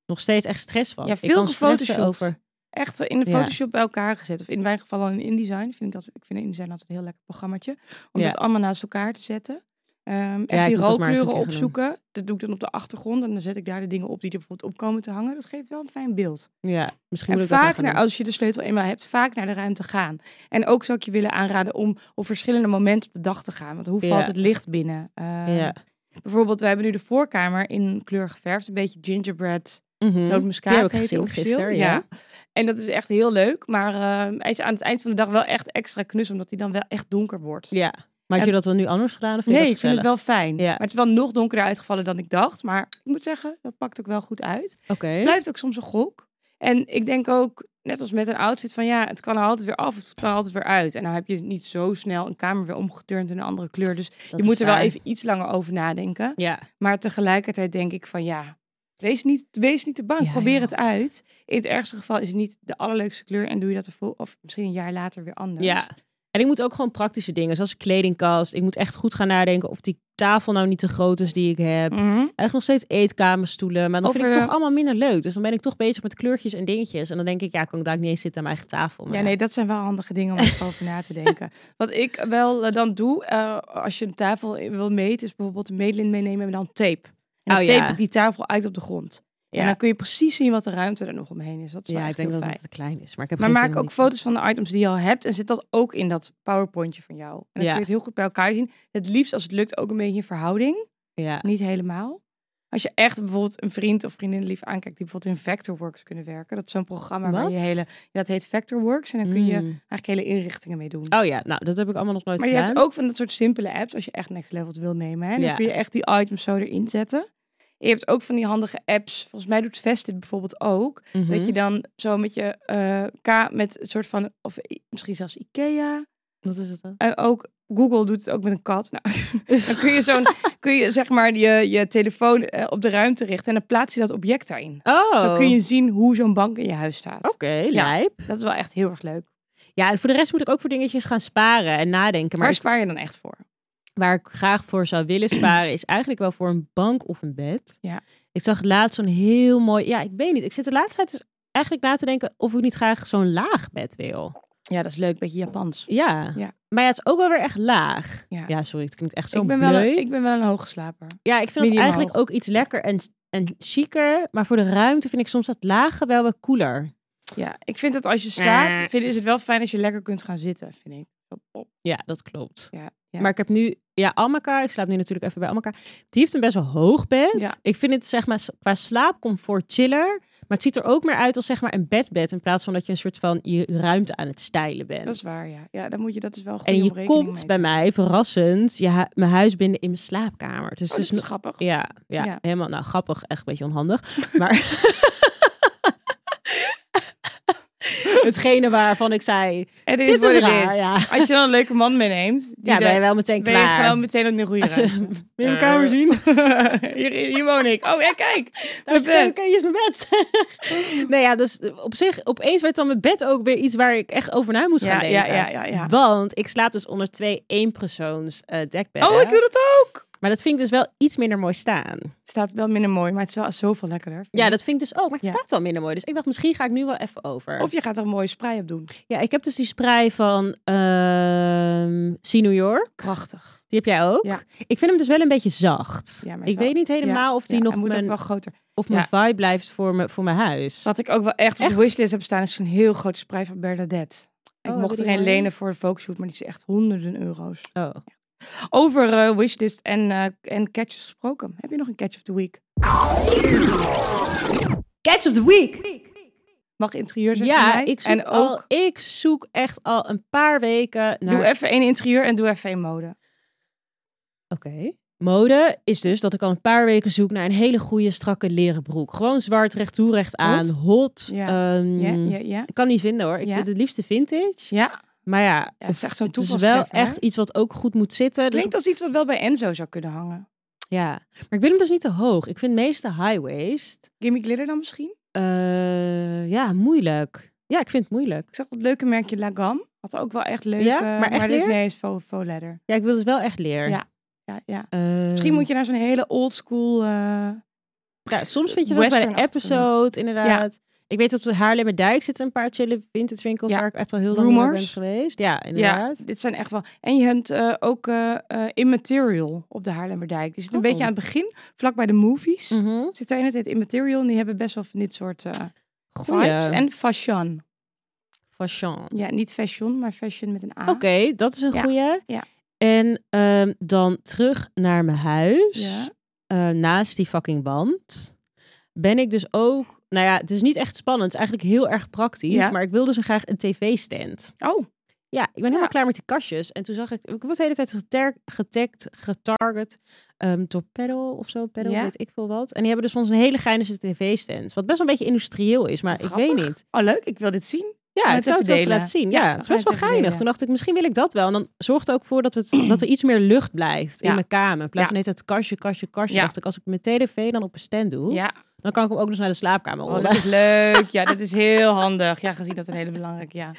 S2: nog steeds echt stress van.
S1: Ja,
S2: ik
S1: veel
S2: kan stressen
S1: gefotoshopt.
S2: over.
S1: echt in de
S2: Ja.
S1: Photoshop bij elkaar gezet. Of in mijn geval dan in InDesign. Vind ik, dat, ik vind InDesign altijd een heel lekker programmaatje. Om
S2: Ja.
S1: dat allemaal naast elkaar te zetten. Ehm echt
S2: ik
S1: die
S2: moet dat maar eens een
S1: rookkleuren
S2: keer gaan doen.
S1: opzoeken. Dat doe ik dan op de achtergrond. En dan zet ik daar de dingen op die er bijvoorbeeld op komen te hangen. Dat geeft wel een fijn beeld.
S2: Ja, misschien moet
S1: en
S2: ik dat
S1: vaak,
S2: wel gaan
S1: naar, als je de sleutel eenmaal hebt, vaak naar de ruimte gaan. En ook zou ik je willen aanraden om op verschillende momenten op de dag te gaan. Want hoe
S2: Ja.
S1: valt het licht binnen?
S2: doen.
S1: Ehm,
S2: Ja.
S1: Bijvoorbeeld, we hebben nu de voorkamer in kleur geverfd. Een beetje gingerbread
S2: Mhm.
S1: nootmuskaat
S2: Die heb ik
S1: heet die
S2: gezien
S1: officieel.
S2: gisteren,
S1: ja.
S2: ja.
S1: En dat is echt heel leuk. Maar eh, hij is aan het eind van de dag wel echt extra knus, omdat hij dan wel echt donker wordt.
S2: ja. Maar heb je dat wel nu anders gedaan? Of vind je
S1: Nee, ik
S2: dat
S1: vind het wel fijn.
S2: Ja.
S1: Maar het is wel nog donkerder uitgevallen dan ik dacht. Maar ik moet zeggen, dat pakt ook wel goed uit.
S2: gezellig? Oké.
S1: Het blijft ook soms een gok. En ik denk ook, net als met een outfit, van ja, het kan er altijd weer af of het kan er altijd weer uit. En nou heb je niet zo snel een kamer weer omgeturnd in een andere kleur. Dus
S2: Dat
S1: je
S2: is
S1: moet er wel
S2: waar.
S1: even iets langer over nadenken.
S2: Ja.
S1: Maar tegelijkertijd denk ik van ja, wees niet, wees niet te bang.
S2: Ja,
S1: Probeer
S2: joh.
S1: het uit. In het ergste geval is het niet de allerleukste kleur en doe je dat de vol of misschien een jaar later weer anders.
S2: Ja. En ik moet ook gewoon praktische dingen, zoals een kledingkast. Ik moet echt goed gaan nadenken of die tafel nou niet te groot is die ik heb.
S1: Mhm.
S2: Echt nog steeds eetkamerstoelen. Maar dan
S1: Of,
S2: vind ik het
S1: eh,
S2: toch allemaal minder leuk. Dus dan ben ik toch bezig met kleurtjes en dingetjes. En dan denk ik, ja, kan ik daar niet eens zitten aan mijn eigen tafel. Maar
S1: Ja, nee, dat zijn wel handige dingen om even over na te denken. Wat ik wel eh, dan doe, eh, als je een tafel wil meten, is bijvoorbeeld een meetlint meenemen en dan tape. En dan
S2: Oh,
S1: tape
S2: ja.
S1: ik die tafel uit op de grond.
S2: Ja.
S1: En dan kun je precies zien wat de ruimte er nog omheen is. Dat is wel
S2: ja, ik
S1: echt
S2: denk
S1: heel
S2: dat
S1: fijn.
S2: het te klein is. Maar ik heb
S1: Maar
S2: geen
S1: maak
S2: zin om
S1: ook
S2: die-
S1: foto's van de items die je al hebt en zet dat ook in dat powerpointje van jou. En dan
S2: Ja.
S1: kun je het heel goed bij elkaar zien. Het liefst als het lukt ook een beetje in verhouding,
S2: Ja.
S1: niet helemaal. Als je echt bijvoorbeeld een vriend of vriendin lief aankijkt die bijvoorbeeld in Vectorworks kunnen werken. Dat is zo'n programma waar je
S2: Wat?
S1: hele, ja, dat heet Vectorworks en dan kun je
S2: Mm.
S1: eigenlijk hele inrichtingen mee doen.
S2: Oh ja, nou, dat heb ik allemaal nog nooit
S1: Maar je
S2: gedaan.
S1: hebt ook van dat soort simpele apps, als je echt next level wil nemen. Hè? Dan
S2: Ja.
S1: kun je echt die items zo erin zetten. En je hebt ook van die handige apps. Volgens mij doet Vested bijvoorbeeld ook.
S2: Mhm.
S1: Dat je dan zo met je eh, K met een soort van, of i- misschien zelfs Ikea.
S2: Wat is het dan?
S1: En ook Google doet het ook met een kat. Nou,
S2: Dus-
S1: dan kun je zo'n, kun je zeg maar je, je telefoon eh, op de ruimte richten en dan plaats je dat object daarin.
S2: Oh,
S1: Zo kun je zien hoe zo'n bank in je huis staat.
S2: Oké,
S1: Ja.
S2: lijp.
S1: Dat is wel echt heel erg leuk.
S2: Ja, en voor de rest moet ik ook voor dingetjes gaan sparen en nadenken. Maar
S1: Waar
S2: ik-
S1: spaar je dan echt voor?
S2: waar ik graag voor zou willen sparen is eigenlijk wel voor een bank of een bed.
S1: Ja.
S2: Ik zag laatst zo'n heel mooi. Ja, ik weet niet. Ik zit de laatste tijd dus eigenlijk na te denken of ik niet graag zo'n laag bed wil.
S1: Ja, dat is leuk. Beetje Japans.
S2: Ja.
S1: Ja.
S2: Maar ja, het is ook wel weer echt laag.
S1: Ja.
S2: sorry, het klinkt echt zo
S1: Ik ben, wel
S2: bleu.
S1: een, ik ben wel een hoogslaper.
S2: Ja, ik vind het
S1: medium
S2: eigenlijk
S1: hoog.
S2: ook iets lekker en en chiquer, maar voor de ruimte vind ik soms dat lage wel wat cooler.
S1: Ja, ik vind dat als je staat,
S2: Eh.
S1: vind, is het wel fijn als je lekker kunt gaan zitten, vind ik. oh, Op- op-
S2: Ja, dat klopt.
S1: Ja, ja.
S2: Maar ik heb nu, ja, Amaka, ik slaap nu natuurlijk even bij Amaka. Die heeft een best wel hoog bed.
S1: Ja.
S2: Ik vind het zeg maar s- qua slaapcomfort chiller. Maar het ziet er ook meer uit als zeg maar een bedbed. In plaats van dat je een soort van je ruimte aan het stijlen bent.
S1: dat is waar, ja. Ja, dan moet je dat is wel goed
S2: en je komt bij mij verrassend je hu- mijn huis binnen in mijn
S1: Oh,
S2: slaapkamer. Dus het is
S1: dat is
S2: nog-
S1: grappig.
S2: ja, ja,
S1: Ja.
S2: helemaal nou grappig, echt een beetje onhandig. Maar hetgene waarvan ik zei,
S1: En dit,
S2: Dit
S1: is,
S2: is
S1: wat het
S2: raar,
S1: is.
S2: ja.
S1: Als je dan een leuke man meeneemt, die
S2: ja, ben je
S1: daar-
S2: wel meteen
S1: ben je
S2: klaar.
S1: gewoon meteen op de goede
S2: Als je-
S1: ruimte.
S2: Wil
S1: Wil je mijn kamer zien? hier, hier woon ik. Oh, ja, kijk.
S2: Daar is de
S1: Mijn bed.
S2: keuken, hier is mijn bed. nee, ja, dus op zich, opeens werd dan mijn bed ook weer iets waar ik echt over na moest gaan
S1: Ja,
S2: denken.
S1: ja, ja, ja, ja.
S2: Want ik slaap dus onder twee eenpersoons eh dekbedden.
S1: Oh, ik doe dat ook.
S2: Maar dat vind ik dus wel iets minder mooi staan.
S1: Het staat wel minder mooi, maar het is wel zoveel lekkerder. vind
S2: Ja,
S1: ik.
S2: dat vind ik dus ook. Maar het
S1: Ja.
S2: staat wel minder mooi. Dus ik dacht, misschien ga ik nu wel even over.
S1: Of je gaat er een mooie sprei op doen.
S2: Ja, ik heb dus die sprei van ehm Senior.
S1: Krachtig.
S2: Die heb jij ook.
S1: Ja.
S2: Ik vind hem dus wel een beetje zacht.
S1: Ja, maar
S2: ik
S1: zo-
S2: weet niet helemaal of die
S1: Ja,
S2: nog
S1: hij moet
S2: mijn,
S1: ook wel groter.
S2: of mijn vibe blijft voor, me, voor mijn huis.
S1: Wat ik ook wel echt op
S2: Echt?
S1: de wishlist heb staan, is een heel grote sprei van Bernadette. Ik
S2: Oh,
S1: mocht
S2: die
S1: er een
S2: mooi?
S1: lenen voor een folkshoot, maar die is echt honderden euro's.
S2: Oh.
S1: Over eh, wishlist en, eh, en catches gesproken. Heb je nog een catch of the week?
S2: Catch of the week!
S1: Mag interieur zijn voor
S2: Ja,
S1: mij?
S2: ik zoek,
S1: En ook,
S2: al, ik zoek echt al een paar weken naar...
S1: doe even één interieur en doe even één mode.
S2: Oké. Mode is dus dat ik al een paar weken zoek naar een hele goede strakke leren broek. Gewoon zwart, recht toe, recht aan, hot.
S1: Ja.
S2: ehm,
S1: Ja, ja, ja.
S2: Ik kan niet vinden hoor. Ik
S1: Ja.
S2: wil het liefste vintage.
S1: Ja,
S2: Maar ja,
S1: het is echt zo'n
S2: het is wel
S1: toevalstreffer, hè?
S2: echt iets wat ook goed moet zitten. Dus-
S1: klinkt als iets wat wel bij Enzo zou kunnen hangen.
S2: ja. Maar ik wil hem dus niet te hoog. Ik vind meeste high waist
S1: Gimme Glitter dan misschien?
S2: eh, ja, moeilijk. Ja, ik vind het moeilijk.
S1: Ik zag dat leuke merkje Lagam. Had ook wel echt leuke...
S2: Ja? Maar echt
S1: dit,
S2: leer?
S1: nee, is faux, faux leather.
S2: Ja, ik wil dus wel echt leer.
S1: Ja. Ja, ja.
S2: Ehm,
S1: Misschien moet je naar zo'n hele old school... eh,
S2: Ja, soms vind je dat bij de
S1: Western-achtige.
S2: episode, inderdaad. Ik weet dat op de Haarlemmerdijk zitten een paar chille vintage winkels
S1: Ja.
S2: waar ik echt wel heel lang niet meer ben
S1: Rumors.
S2: geweest. Ja, inderdaad.
S1: dit zijn echt wel... En je hebt eh, ook eh, eh, Immaterial op de Haarlemmerdijk. Die zit een
S2: Oh.
S1: beetje aan het begin, vlak bij de movies.
S2: Mhm.
S1: Zit daar in het heet Immaterial. En die hebben best wel van dit soort eh,
S2: Goeie.
S1: vibes. En fashion.
S2: Fashion.
S1: Ja, niet fashion, maar fashion met een A.
S2: Oké, dat is een
S1: Ja,
S2: goeie.
S1: ja.
S2: En ehm, dan terug naar mijn huis.
S1: Ja.
S2: Eh, naast die fucking wand. Ben ik dus ook... Nou ja, het is niet echt spannend. Het is eigenlijk heel erg praktisch.
S1: Ja.
S2: Maar ik wil dus graag een tv-stand.
S1: Oh,
S2: Ja, ik ben helemaal
S1: Ja.
S2: klaar met die kastjes. En toen zag ik... Ik word de hele tijd geter- getagd, getarget... ehm, door Paddle of zo. Paddle,
S1: Ja.
S2: weet ik veel wat. En die hebben dus van ons een hele geinige tv-stand. Wat best wel een beetje industrieel is. Maar
S1: Wat
S2: ik weet
S1: grappig.
S2: niet.
S1: oh leuk. Ik wil dit zien.
S2: Ja,
S1: het
S2: ik
S1: even
S2: zou het wel even
S1: delen.
S2: laten zien.
S1: Ja,
S2: Ja,
S1: dan
S2: het is
S1: ga je
S2: best
S1: het
S2: wel
S1: even
S2: geinig.
S1: delen.
S2: Toen dacht ik, misschien wil ik dat wel. En dan zorgt er ook voor dat, het, dat er iets meer lucht blijft
S1: Ja.
S2: in mijn kamer. In plaats
S1: Ja.
S2: van net het kastje, kastje, kastje.
S1: Ja.
S2: Dacht ik, als ik mijn tv dan op een stand doe,
S1: Ja,
S2: dan kan ik hem ook nog naar de slaapkamer
S1: oh,
S2: rollen.
S1: dat is leuk. Ja, dit is heel handig. Ja, gezien dat een hele belangrijke... Ja,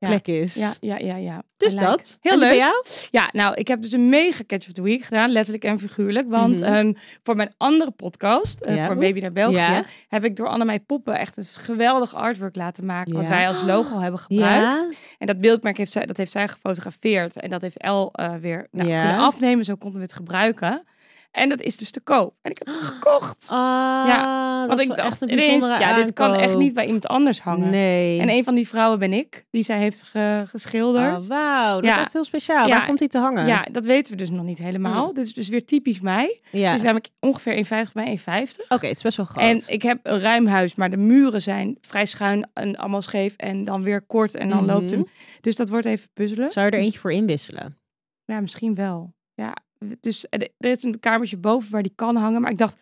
S1: ja.
S2: plek is.
S1: ja, ja, ja. ja.
S2: Dus
S1: I like.
S2: dat.
S1: Heel
S2: En die
S1: leuk.
S2: bij jou?
S1: Ja, nou, ik heb dus een mega catch of the week gedaan, letterlijk en figuurlijk. Want
S2: Mhm.
S1: ehm, voor mijn andere podcast, eh,
S2: Ja.
S1: voor Baby naar België,
S2: Ja.
S1: heb ik door Annemij Poppen echt een geweldig artwork laten maken. Wat
S2: Ja.
S1: wij als logo hebben gebruikt.
S2: Ja.
S1: En dat beeldmerk heeft zij, dat heeft zij gefotografeerd. En dat heeft El eh, weer nou,
S2: Ja.
S1: kunnen afnemen, zo konden we het gebruiken. En dat is dus te koop. En ik heb het gekocht.
S2: ja. Oh, Ah, Dat
S1: Want
S2: is
S1: ik
S2: wel
S1: dacht
S2: echt een
S1: ineens,
S2: bijzondere
S1: ja, dit kan echt
S2: aankoop.
S1: niet bij iemand anders hangen.
S2: Nee.
S1: En een van die vrouwen ben ik, die zij heeft ge- geschilderd.
S2: Oh, wauw, dat is
S1: Ja.
S2: echt heel speciaal.
S1: Ja.
S2: Waar komt die te hangen?
S1: Ja, dat weten we dus nog niet helemaal. Dit is dus weer typisch mij.
S2: Hmm. Ja.
S1: Het is
S2: Oké,
S1: namelijk ongeveer 1,50 bij 1,50.
S2: het is best wel groot.
S1: En ik heb een ruim huis, maar de muren zijn vrij schuin en allemaal scheef. En dan weer kort en dan loopt
S2: Mhm.
S1: hem. Dus dat wordt even puzzelen.
S2: Zou je er eentje voor inwisselen?
S1: Ja, misschien wel. Ja, dus er er is een kamertje boven waar die kan hangen. Maar ik dacht,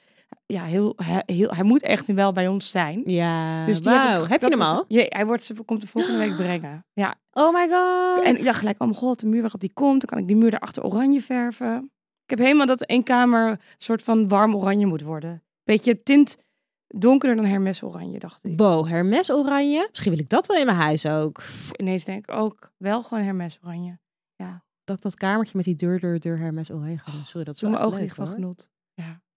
S1: ja, heel, he- heel, hij moet echt wel bij ons zijn.
S2: Ja,
S1: Dus die heb,
S2: wauw. Heb,
S1: ik-
S2: je
S1: dat
S2: hem
S1: was-
S2: al?
S1: Ja, hij wordt, ze komt de volgende week brengen. Ja.
S2: Oh my god.
S1: En ik dacht gelijk, oh mijn god, de muur waarop die komt, dan kan ik die muur daarachter oranje verven. Ik heb helemaal dat één kamer soort van warm oranje moet worden. Beetje tint donkerder dan Hermes oranje, dacht ik.
S2: Wow, Hermes oranje. Misschien wil ik dat wel in mijn huis ook.
S1: Pff, ineens denk ik ook wel gewoon Hermes oranje.
S2: Dat ik dat kamertje met die deur, deur, deur Hermes oranje ga doen. Sorry, dat is
S1: Toen
S2: wel
S1: mijn ogen dicht
S2: echt leuk,
S1: van
S2: hoor.
S1: genot.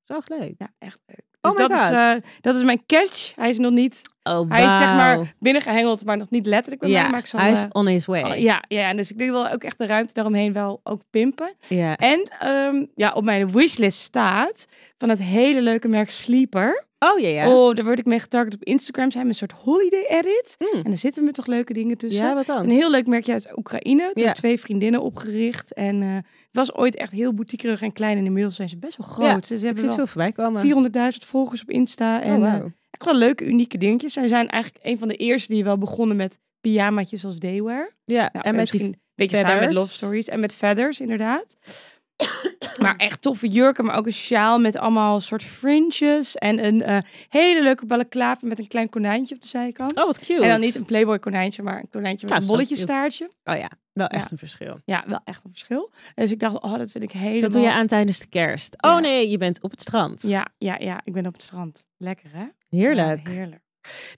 S2: Dat is echt leuk.
S1: Ja, echt leuk.
S2: Oh
S1: Dus
S2: my
S1: dat, is,
S2: God.
S1: eh, dat is mijn catch. Hij is nog niet.
S2: Oh,
S1: Hij is zeg
S2: wauw.
S1: maar binnengehengeld, maar nog niet letterlijk bij
S2: ja,
S1: mij. Maar ik zal,
S2: hij is
S1: eh,
S2: on his way.
S1: oh,
S2: ja.
S1: ja, ja, dus ik denk wel ook echt de ruimte daaromheen wel ook pimpen. En ehm, ja, op mijn wishlist staat van het hele leuke merk Sleeper.
S2: Oh ja, ja.
S1: Oh, daar word ik mee getarget op Instagram. Ze hebben een soort holiday edit.
S2: Mm.
S1: En er zitten me toch leuke dingen tussen.
S2: ja, wat
S1: Een
S2: dan?
S1: heel leuk merkje uit Oekraïne. Door
S2: Ja.
S1: twee vriendinnen opgericht. En eh, het was ooit echt heel boutiqueerig en klein. En inmiddels zijn ze best wel groot. ze
S2: Ik
S1: hebben
S2: zit
S1: wel
S2: veel voorbij komen.
S1: 400.000 volgers op Insta.
S2: Oh,
S1: En eh,
S2: wauw.
S1: echt wel leuke, unieke dingetjes. Zij zijn eigenlijk een van de eerste die wel begonnen met pyjamaatjes als daywear.
S2: Ja,
S1: Nou,
S2: en met die...
S1: misschien een beetje samen met
S2: feathers.
S1: Love Stories en met Feathers, inderdaad. maar echt toffe jurken, maar ook een sjaal met allemaal soort fringes. En een eh, hele leuke balaclava met een klein konijntje op de zijkant.
S2: Oh, wat cute.
S1: en dan niet een Playboy konijntje, maar een konijntje met
S2: Ja,
S1: een
S2: zo
S1: bolletjestaartje.
S2: Oh ja, wel echt
S1: Ja.
S2: een verschil.
S1: Ja, wel echt een verschil. Dus ik dacht, oh, dat vind ik helemaal...
S2: Dat doe je aan tijdens de kerst.
S1: Ja.
S2: Oh nee, je bent op het strand.
S1: Ja, ja, ja, ik ben op het strand. Lekker, hè?
S2: Heerlijk.
S1: Ja, heerlijk.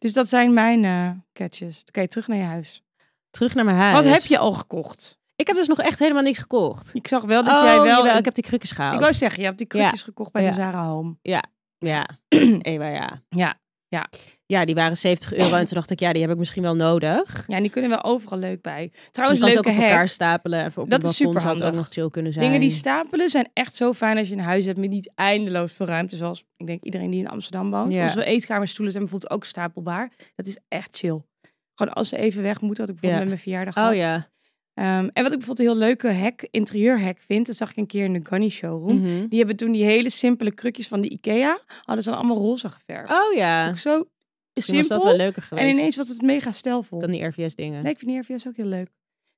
S1: Dus dat zijn mijn eh catches. Oké, terug naar je huis.
S2: Terug naar mijn huis.
S1: Wat heb je al gekocht?
S2: Ik heb dus nog echt helemaal niks gekocht.
S1: Ik zag wel dat jij wel...
S2: Oh, jawel,
S1: een-
S2: ik heb die krukjes
S1: ik
S2: gehaald.
S1: wou zeggen, je hebt die krukjes gekocht bij
S2: Ja.
S1: de Zara Home.
S2: Ja, Ewa, ja.
S1: Ja, ja.
S2: Ja, die waren 70 euro en toen dacht ik, ja, die heb ik misschien wel nodig.
S1: Ja, en die kunnen wel overal leuk bij.
S2: Dus
S1: Trouwens,
S2: kan ze ook
S1: leuke
S2: op elkaar
S1: hack.
S2: stapelen. Even op
S1: Dat
S2: een
S1: is
S2: balkon zou het ook
S1: superhandig.
S2: nog chill kunnen zijn.
S1: Dingen die stapelen zijn echt zo fijn als je een huis hebt met niet eindeloos veel ruimte. Zoals, ik denk, iedereen die in Amsterdam woont.
S2: Ja.
S1: Onze eetkamerstoelen zijn bijvoorbeeld ook stapelbaar. Dat is echt chill. Gewoon als ze even weg moeten, wat ik bijvoorbeeld
S2: Ja.
S1: met mijn verjaardag had.
S2: Oh ja.
S1: Ehm, en wat ik bijvoorbeeld een heel leuke hack, interieurhack vind, dat zag ik een keer in de Gunny Showroom.
S2: Mhm.
S1: Die hebben toen die hele simpele krukjes van de Ikea, hadden ze dan allemaal roze geverfd.
S2: Oh ja.
S1: Ook zo
S2: Misschien was dat wel
S1: simpel.
S2: leuker geweest
S1: En ineens was het mega stijlvol.
S2: dan die RVS dingen.
S1: Nee, ik vind die RVS ook heel leuk.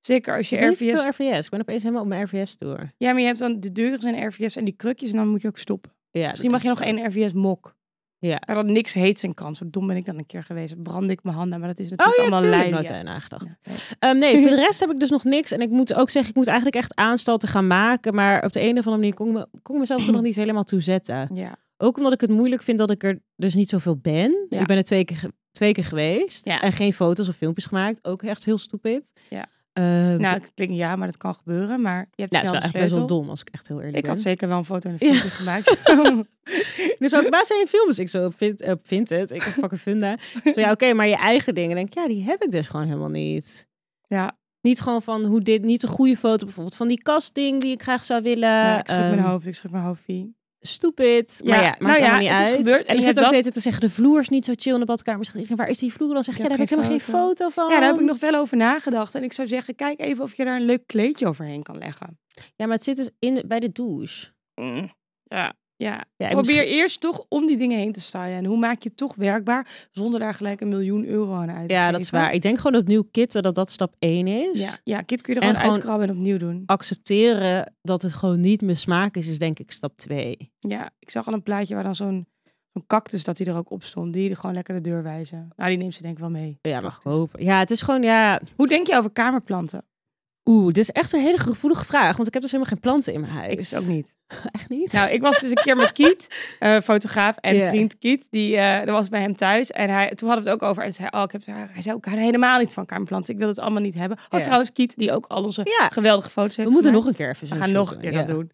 S1: Zeker als
S2: Ik
S1: je
S2: weet niet
S1: RVS...
S2: veel RVS. Ik ben opeens helemaal op mijn RVS door.
S1: Ja, maar je hebt dan de deuren zijn RVS en die krukjes en dan moet je ook stoppen.
S2: Ja,
S1: Misschien mag je nog één RVS-mok.
S2: Ja.
S1: Maar dan niks heet zijn kant. Zo dom ben ik dan een keer geweest. Dan Brandde ik mijn handen, maar dat is
S2: Oh
S1: natuurlijk
S2: ja,
S1: allemaal
S2: tuurlijk.
S1: lijn.
S2: Nooit
S1: ja.
S2: aan nagedacht.
S1: Ja, ja.
S2: Ehm, nee, voor de rest heb ik dus nog niks. En ik moet ook zeggen, ik moet eigenlijk echt aanstalten gaan maken. Maar op de een of andere manier kon ik, me, kon ik mezelf er nog niet helemaal toe zetten.
S1: Ja.
S2: Ook omdat ik het moeilijk vind dat ik er dus niet zoveel ben.
S1: Ja.
S2: Ik ben er twee keer, ge- twee keer geweest.
S1: Ja.
S2: En geen foto's of filmpjes gemaakt. Ook echt heel stupid.
S1: Ja.
S2: Ehm,
S1: Nou, ik denk ja, maar dat kan gebeuren. Maar je hebt
S2: nou, het is
S1: zelf
S2: wel
S1: de
S2: echt best wel
S1: sleutel.
S2: dom als ik echt heel eerlijk
S1: Ik
S2: ben.
S1: had zeker wel een foto en een
S2: Ja.
S1: filmpje gemaakt.
S2: Dus ook, waar zijn je films? Ik zo, vind, eh, vind het. Ik heb fucking funda. Zo, ja, oké, maar je eigen dingen. Denk ik, ja, die heb ik dus gewoon helemaal niet.
S1: ja,
S2: Niet gewoon van hoe dit, niet een goede foto bijvoorbeeld van die kastding die ik graag zou willen.
S1: ja, ik schud mijn
S2: Ehm, Oh.
S1: hoofd, ik schud mijn hoofdje.
S2: Stupid. Maar ja,
S1: Ja,
S2: maakt
S1: nou ja,
S2: allemaal niet
S1: het is
S2: uit.
S1: gebeurd.
S2: En
S1: En
S2: ik
S1: je
S2: zit
S1: hebt
S2: ook
S1: dat-
S2: steeds te zeggen, de vloer is niet zo chill in de badkamer. Zeg ik, waar is die vloer? Dan zeg ik, ja,
S1: Ik
S2: daar
S1: heb
S2: heb ik helemaal
S1: geen
S2: geen foto van.
S1: Ja, daar heb ik nog wel over nagedacht. En ik zou zeggen, kijk even of je daar een leuk kleedje overheen kan leggen. Mm.
S2: Ja, maar het zit dus in de- bij de douche.
S1: Ja. Ja,
S2: Ja, en
S1: probeer
S2: misschien-
S1: eerst toch om die dingen heen te stylen. En hoe maak je het toch werkbaar zonder daar gelijk een miljoen euro aan uit te
S2: Ja, dat is
S1: geven?
S2: waar. Ik denk gewoon opnieuw kitten dat dat stap 1 is.
S1: Ja, ja kit kun je er
S2: En
S1: gewoon,
S2: gewoon-
S1: uitkrabben en opnieuw doen.
S2: Accepteren dat het gewoon niet mijn smaak is, is denk ik stap 2.
S1: Ja, ik zag al een plaatje waar dan zo'n zo'n cactus dat hij er ook op stond. Die er gewoon lekker de deur wijzen. Nou, die neemt ze denk ik wel mee.
S2: Ja, mag ik
S1: Cactus.
S2: hopen. Ja, het is gewoon, ja...
S1: Hoe denk je over kamerplanten?
S2: Oeh, dit is echt een hele gevoelige vraag. Want ik heb dus helemaal geen planten in mijn huis.
S1: Ik wist ook niet.
S2: Echt niet?
S1: Nou, ik was dus een keer met Kiet, eh, fotograaf en
S2: Ja.
S1: vriend Kiet. Die eh, er was bij hem thuis. En hij, toen hadden we het ook over. En zei, oh, ik heb, hij zei ook, ik hou helemaal niet van kamerplanten. Ik wil het allemaal niet hebben. Oh,
S2: Ja.
S1: trouwens, Kiet, die ook al onze
S2: ja,
S1: geweldige foto's
S2: we
S1: heeft
S2: moeten nog
S1: gemaakt.
S2: een keer even
S1: We gaan nog een keer dat doen.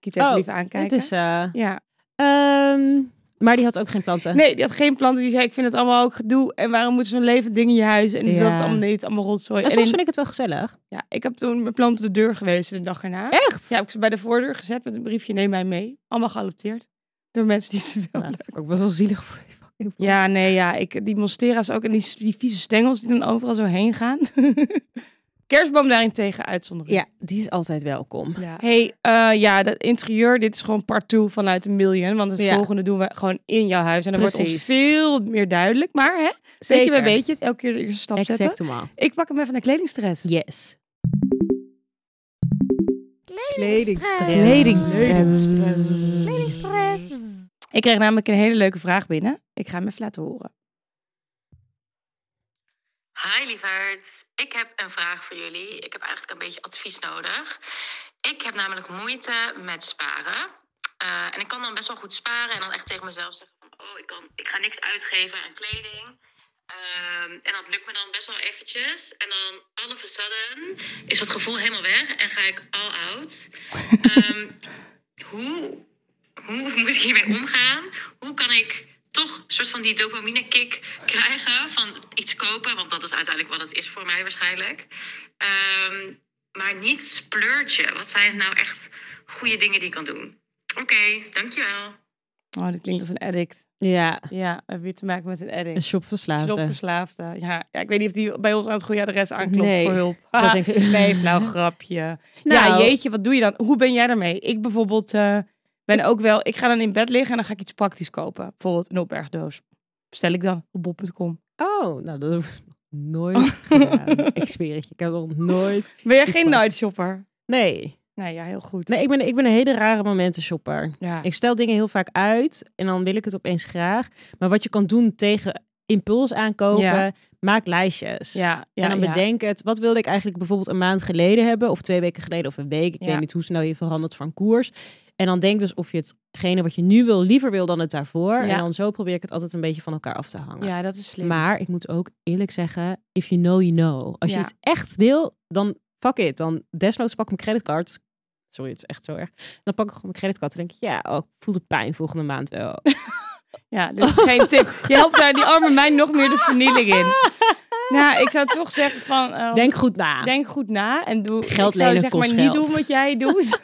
S1: Kiet even
S2: Oh,
S1: lief aankijken.
S2: Het is... eh,
S1: Ja.
S2: ehm, maar die had ook geen planten.
S1: Nee, die had geen planten. Die zei, ik vind het allemaal ook gedoe. En waarom moeten zo'n levend ding in je huis? En
S2: Ja.
S1: die dat allemaal niet, allemaal rotzooi.
S2: En
S1: En
S2: soms
S1: in-
S2: vind ik het wel gezellig.
S1: ja, ik heb toen mijn planten de deur gewezen de dag erna.
S2: Echt?
S1: Ja, heb ik ze bij de voordeur gezet met een briefje, neem mij mee. Allemaal geadopteerd. Door mensen die ze
S2: Nou,
S1: wilden.
S2: dat vind ik ook best wel zielig voor je fucking plant.
S1: Ja, nee, ja. Ik, die monstera's ook. En die, die vieze stengels die dan overal zo heen gaan. Kerstboom daarentegen uitzonderen.
S2: Ja, die is altijd welkom.
S1: Ja. hey, eh, ja, dat interieur, dit is gewoon part 2 vanuit een million. Want het
S2: Ja.
S1: volgende doen we gewoon in jouw huis. En dan wordt
S2: Precies.
S1: ons veel meer duidelijk. Maar hè, beetje bij beetje, elke keer de eerste stap zetten.
S2: Exactement.
S1: Ik pak hem even naar kledingstress.
S2: Yes.
S3: Kledingstress. Kledingstress.
S1: Ik kreeg namelijk een hele leuke vraag binnen. Ik ga hem even laten horen.
S4: Hi lieverd, ik heb een vraag voor jullie. Ik heb eigenlijk een beetje advies nodig. Ik heb namelijk moeite met sparen. Eh, en ik kan dan best wel goed sparen en dan echt tegen mezelf zeggen van... oh, ik, kan, ik ga niks uitgeven aan kleding. Ehm, en dat lukt me dan best wel eventjes. En dan all of a sudden is dat gevoel helemaal weg en ga ik all out. Ehm, hoe, hoe moet ik hiermee omgaan? Hoe kan ik toch een soort van die dopamine kick krijgen van iets kopen? Want dat is uiteindelijk wat het is voor mij waarschijnlijk. Ehm, maar niet splurgen. Wat zijn nou echt goede dingen die ik kan doen? Oké, dankjewel.
S1: Oh, dit klinkt als een addict.
S2: Ja,
S1: Ja, we hebben weer te maken met een
S2: een
S1: addict.
S2: shopverslaafde.
S1: Shopverslaafde. eh? Ja, ja, ik weet niet of die bij ons aan het goede adres aanklopt
S2: Nee,
S1: voor hulp.
S2: dat denk ik.
S1: Nee, flauw grapje. Ja,
S2: Nou.
S1: jeetje, wat doe je dan? Hoe ben jij daarmee? Ik bijvoorbeeld eh, ben ook wel... Ik ga dan in bed liggen en dan ga ik iets praktisch kopen. Bijvoorbeeld een opbergdoos. Bestel ik dan op bol.com.
S2: Oh, nou dat heb ik nog nooit gedaan. Ik zweer het je, ik heb nog nooit...
S1: Ben jij geen
S2: Iets praktisch.
S1: night shopper?
S2: Nee.
S1: Nee, ja, heel goed.
S2: Nee, ik ben, ik ben een hele rare momentenshopper.
S1: Ja.
S2: Ik stel dingen heel vaak uit en dan wil ik het opeens graag. Maar wat je kan doen tegen impuls aankopen,
S1: Ja.
S2: maak lijstjes.
S1: Ja, ja,
S2: en dan
S1: ja.
S2: bedenk het, wat wilde ik eigenlijk bijvoorbeeld een maand geleden hebben, of twee weken geleden, of een week. Ik
S1: Ja.
S2: weet niet hoe snel je verandert van koers. En dan denk dus of je hetgene wat je nu wil, liever wil dan het daarvoor.
S1: Ja.
S2: En dan zo probeer ik het altijd een beetje van elkaar af te hangen.
S1: ja, dat is slim.
S2: Maar ik moet ook eerlijk zeggen, if you know, you know. Als
S1: Ja.
S2: je iets echt wil, dan fuck it. Dan desnoods pak ik mijn creditcard. Sorry, het is echt zo erg. Dan pak ik gewoon mijn creditcard en denk ik, ja, oh, ik voel de pijn volgende maand wel.
S1: Oh. Ja, dus geen tip. Je helpt daar die arme mij nog meer de vernieling in. Nou, ik zou toch zeggen van... eh,
S2: Denk goed na.
S1: Denk goed na en doe.
S2: Geld
S1: ik zou
S2: lenen
S1: zeg
S2: kost
S1: maar niet
S2: geld.
S1: doen wat jij doet.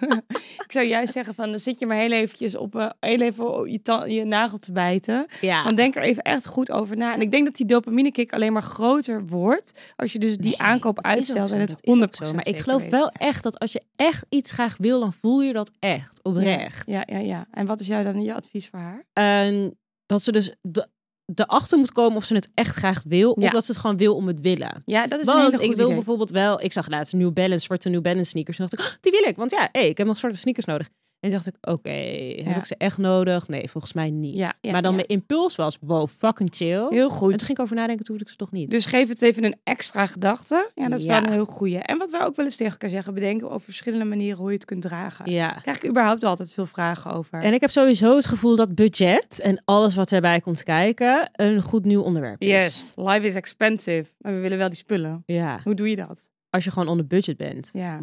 S1: ik zou juist zeggen van, dan zit je maar heel eventjes op, eh, heel even op je, ta- je nagel te bijten.
S2: ja.
S1: Van denk er even echt goed over na. En ik denk dat die dopamine kick alleen maar groter wordt als je dus die aankoop
S2: Dat is ook
S1: uitstelt
S2: zo,
S1: en het
S2: dat is ook
S1: 100%
S2: zo. Maar ik
S1: zeker
S2: geloof
S1: weet.
S2: wel echt dat als je echt iets graag wil, dan voel je dat echt oprecht.
S1: Ja, ja, ja. En wat is jou dan je advies voor haar?
S2: En dat ze dus de, erachter moet komen of ze het echt graag wil.
S1: Ja.
S2: Of dat ze het gewoon wil om het willen.
S1: Ja, dat is een
S2: Want
S1: hele
S2: ik
S1: goede
S2: wil
S1: idee.
S2: bijvoorbeeld wel... Ik zag laatst New Balance, zwarte New Balance sneakers. En dacht ik, "Oh, die wil ik. Want ja, hey, ik heb nog zwarte sneakers nodig. En toen dacht ik, oké, heb
S1: Ja.
S2: ik ze echt nodig? Nee, volgens mij niet.
S1: Ja, ja,
S2: maar dan
S1: ja.
S2: mijn impuls was, wow, fucking chill. En
S1: Heel
S2: toen
S1: goed.
S2: ging ik over nadenken, toen hoefde ik ze toch niet.
S1: Dus geef het even een extra gedachte. Ja, dat is
S2: Ja.
S1: wel een heel goeie. En wat we ook wel eens tegen elkaar zeggen, bedenken over verschillende manieren hoe je het kunt dragen.
S2: ja.
S1: Krijg ik überhaupt altijd veel vragen over.
S2: En ik heb sowieso het gevoel dat budget en alles wat erbij komt kijken een goed nieuw onderwerp is.
S1: Yes, life is expensive. Maar we willen wel die spullen.
S2: Ja,
S1: Hoe doe je dat?
S2: als je gewoon onder budget bent.
S1: Ja.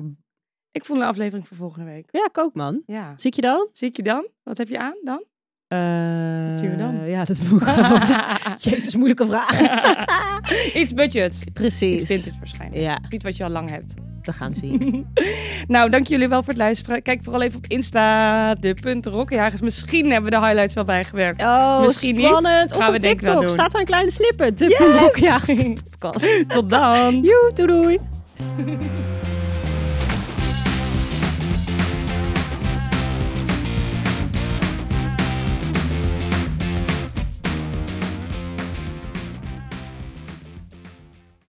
S1: Ik voel een aflevering voor volgende week.
S2: Ja, ik ook man.
S1: Ja.
S2: Zie ik je dan?
S1: Zie ik je dan? Wat heb je aan dan?
S2: Eh,
S1: Dat zien we dan.
S2: Ja, dat moet ik gewoon. Jezus, moeilijke vraag.
S1: Iets budgets. Iets
S2: Precies.
S1: vintage waarschijnlijk.
S2: Ja,
S1: Iets wat je al lang hebt.
S2: dat gaan we zien.
S1: Nou, dank jullie wel voor het luisteren. Kijk vooral even op Insta, de punt Rockjagers. Misschien hebben we de highlights wel bijgewerkt.
S2: Oh,
S1: Misschien niet.
S2: spannend. Of
S1: Gaan
S2: op
S1: we denk ik wel
S2: TikTok
S1: doen.
S2: staat daar een kleine snippet. De
S1: Yes!
S2: yes! podcast.
S1: Tot dan.
S2: Joe, doei doei.